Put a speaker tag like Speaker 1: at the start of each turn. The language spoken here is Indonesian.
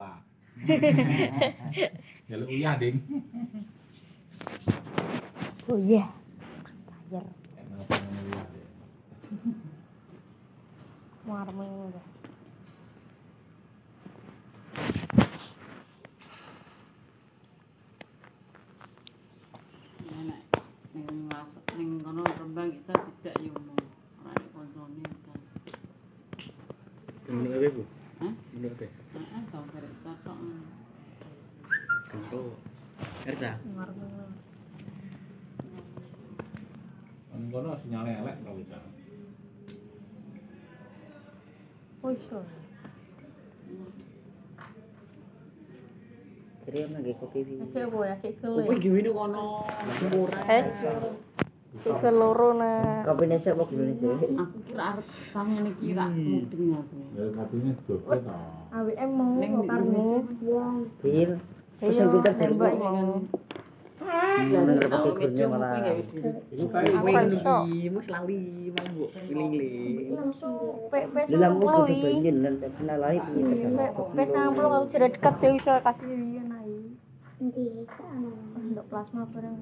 Speaker 1: Wah. ya lu uyah ding
Speaker 2: Oh iya. Ajar
Speaker 1: Kenapa namanya uyah, Ding?
Speaker 2: mau arming udah.
Speaker 3: Ya, nek ning ngelas ning kono Rembang kita tidak yumu. Ora nek koncone kita.
Speaker 4: Menurut apa bu?
Speaker 3: Hah?
Speaker 4: Menurut apa?
Speaker 3: Heeh, tau karep tok.
Speaker 4: Gantung. Erda.
Speaker 2: Mau arming.
Speaker 1: Nang kono sinyalnya elek kalau bisa
Speaker 2: Oh iya.
Speaker 4: Jadi emang gak kopi bi.
Speaker 2: Oke bu ya kayak
Speaker 4: Kopi
Speaker 2: kele.
Speaker 4: gini kono.
Speaker 2: Eh. Kayak keloro nah.
Speaker 4: Kopi Indonesia mau Indonesia.
Speaker 3: Aku kira arep sama niki ra
Speaker 4: Hmm.
Speaker 3: mudeng aku.
Speaker 1: dari kopinya dobe no
Speaker 2: AWM mau
Speaker 3: Ning
Speaker 2: mau
Speaker 3: di
Speaker 2: arming.
Speaker 3: Indonesia wong
Speaker 4: Bir. Terus yang pintar jadi
Speaker 2: nembak
Speaker 4: bu.
Speaker 2: ya kan.
Speaker 3: biasa
Speaker 4: Menurut
Speaker 3: tau
Speaker 4: kopi
Speaker 3: mejo kopi
Speaker 4: gurunya malah.
Speaker 3: gak wis diri.
Speaker 1: itu tadi
Speaker 2: Apa iso?
Speaker 4: Mus lali mang bu. Iling-iling.
Speaker 2: Langsung pe pe
Speaker 4: Dalam mus
Speaker 2: sampul
Speaker 4: kudu
Speaker 2: iki.
Speaker 4: pengen dan kenal lain ini pesan.
Speaker 2: Pe pe sampul kalau jarak dekat jauh iso kaki iya nai. Untuk plasma bareng.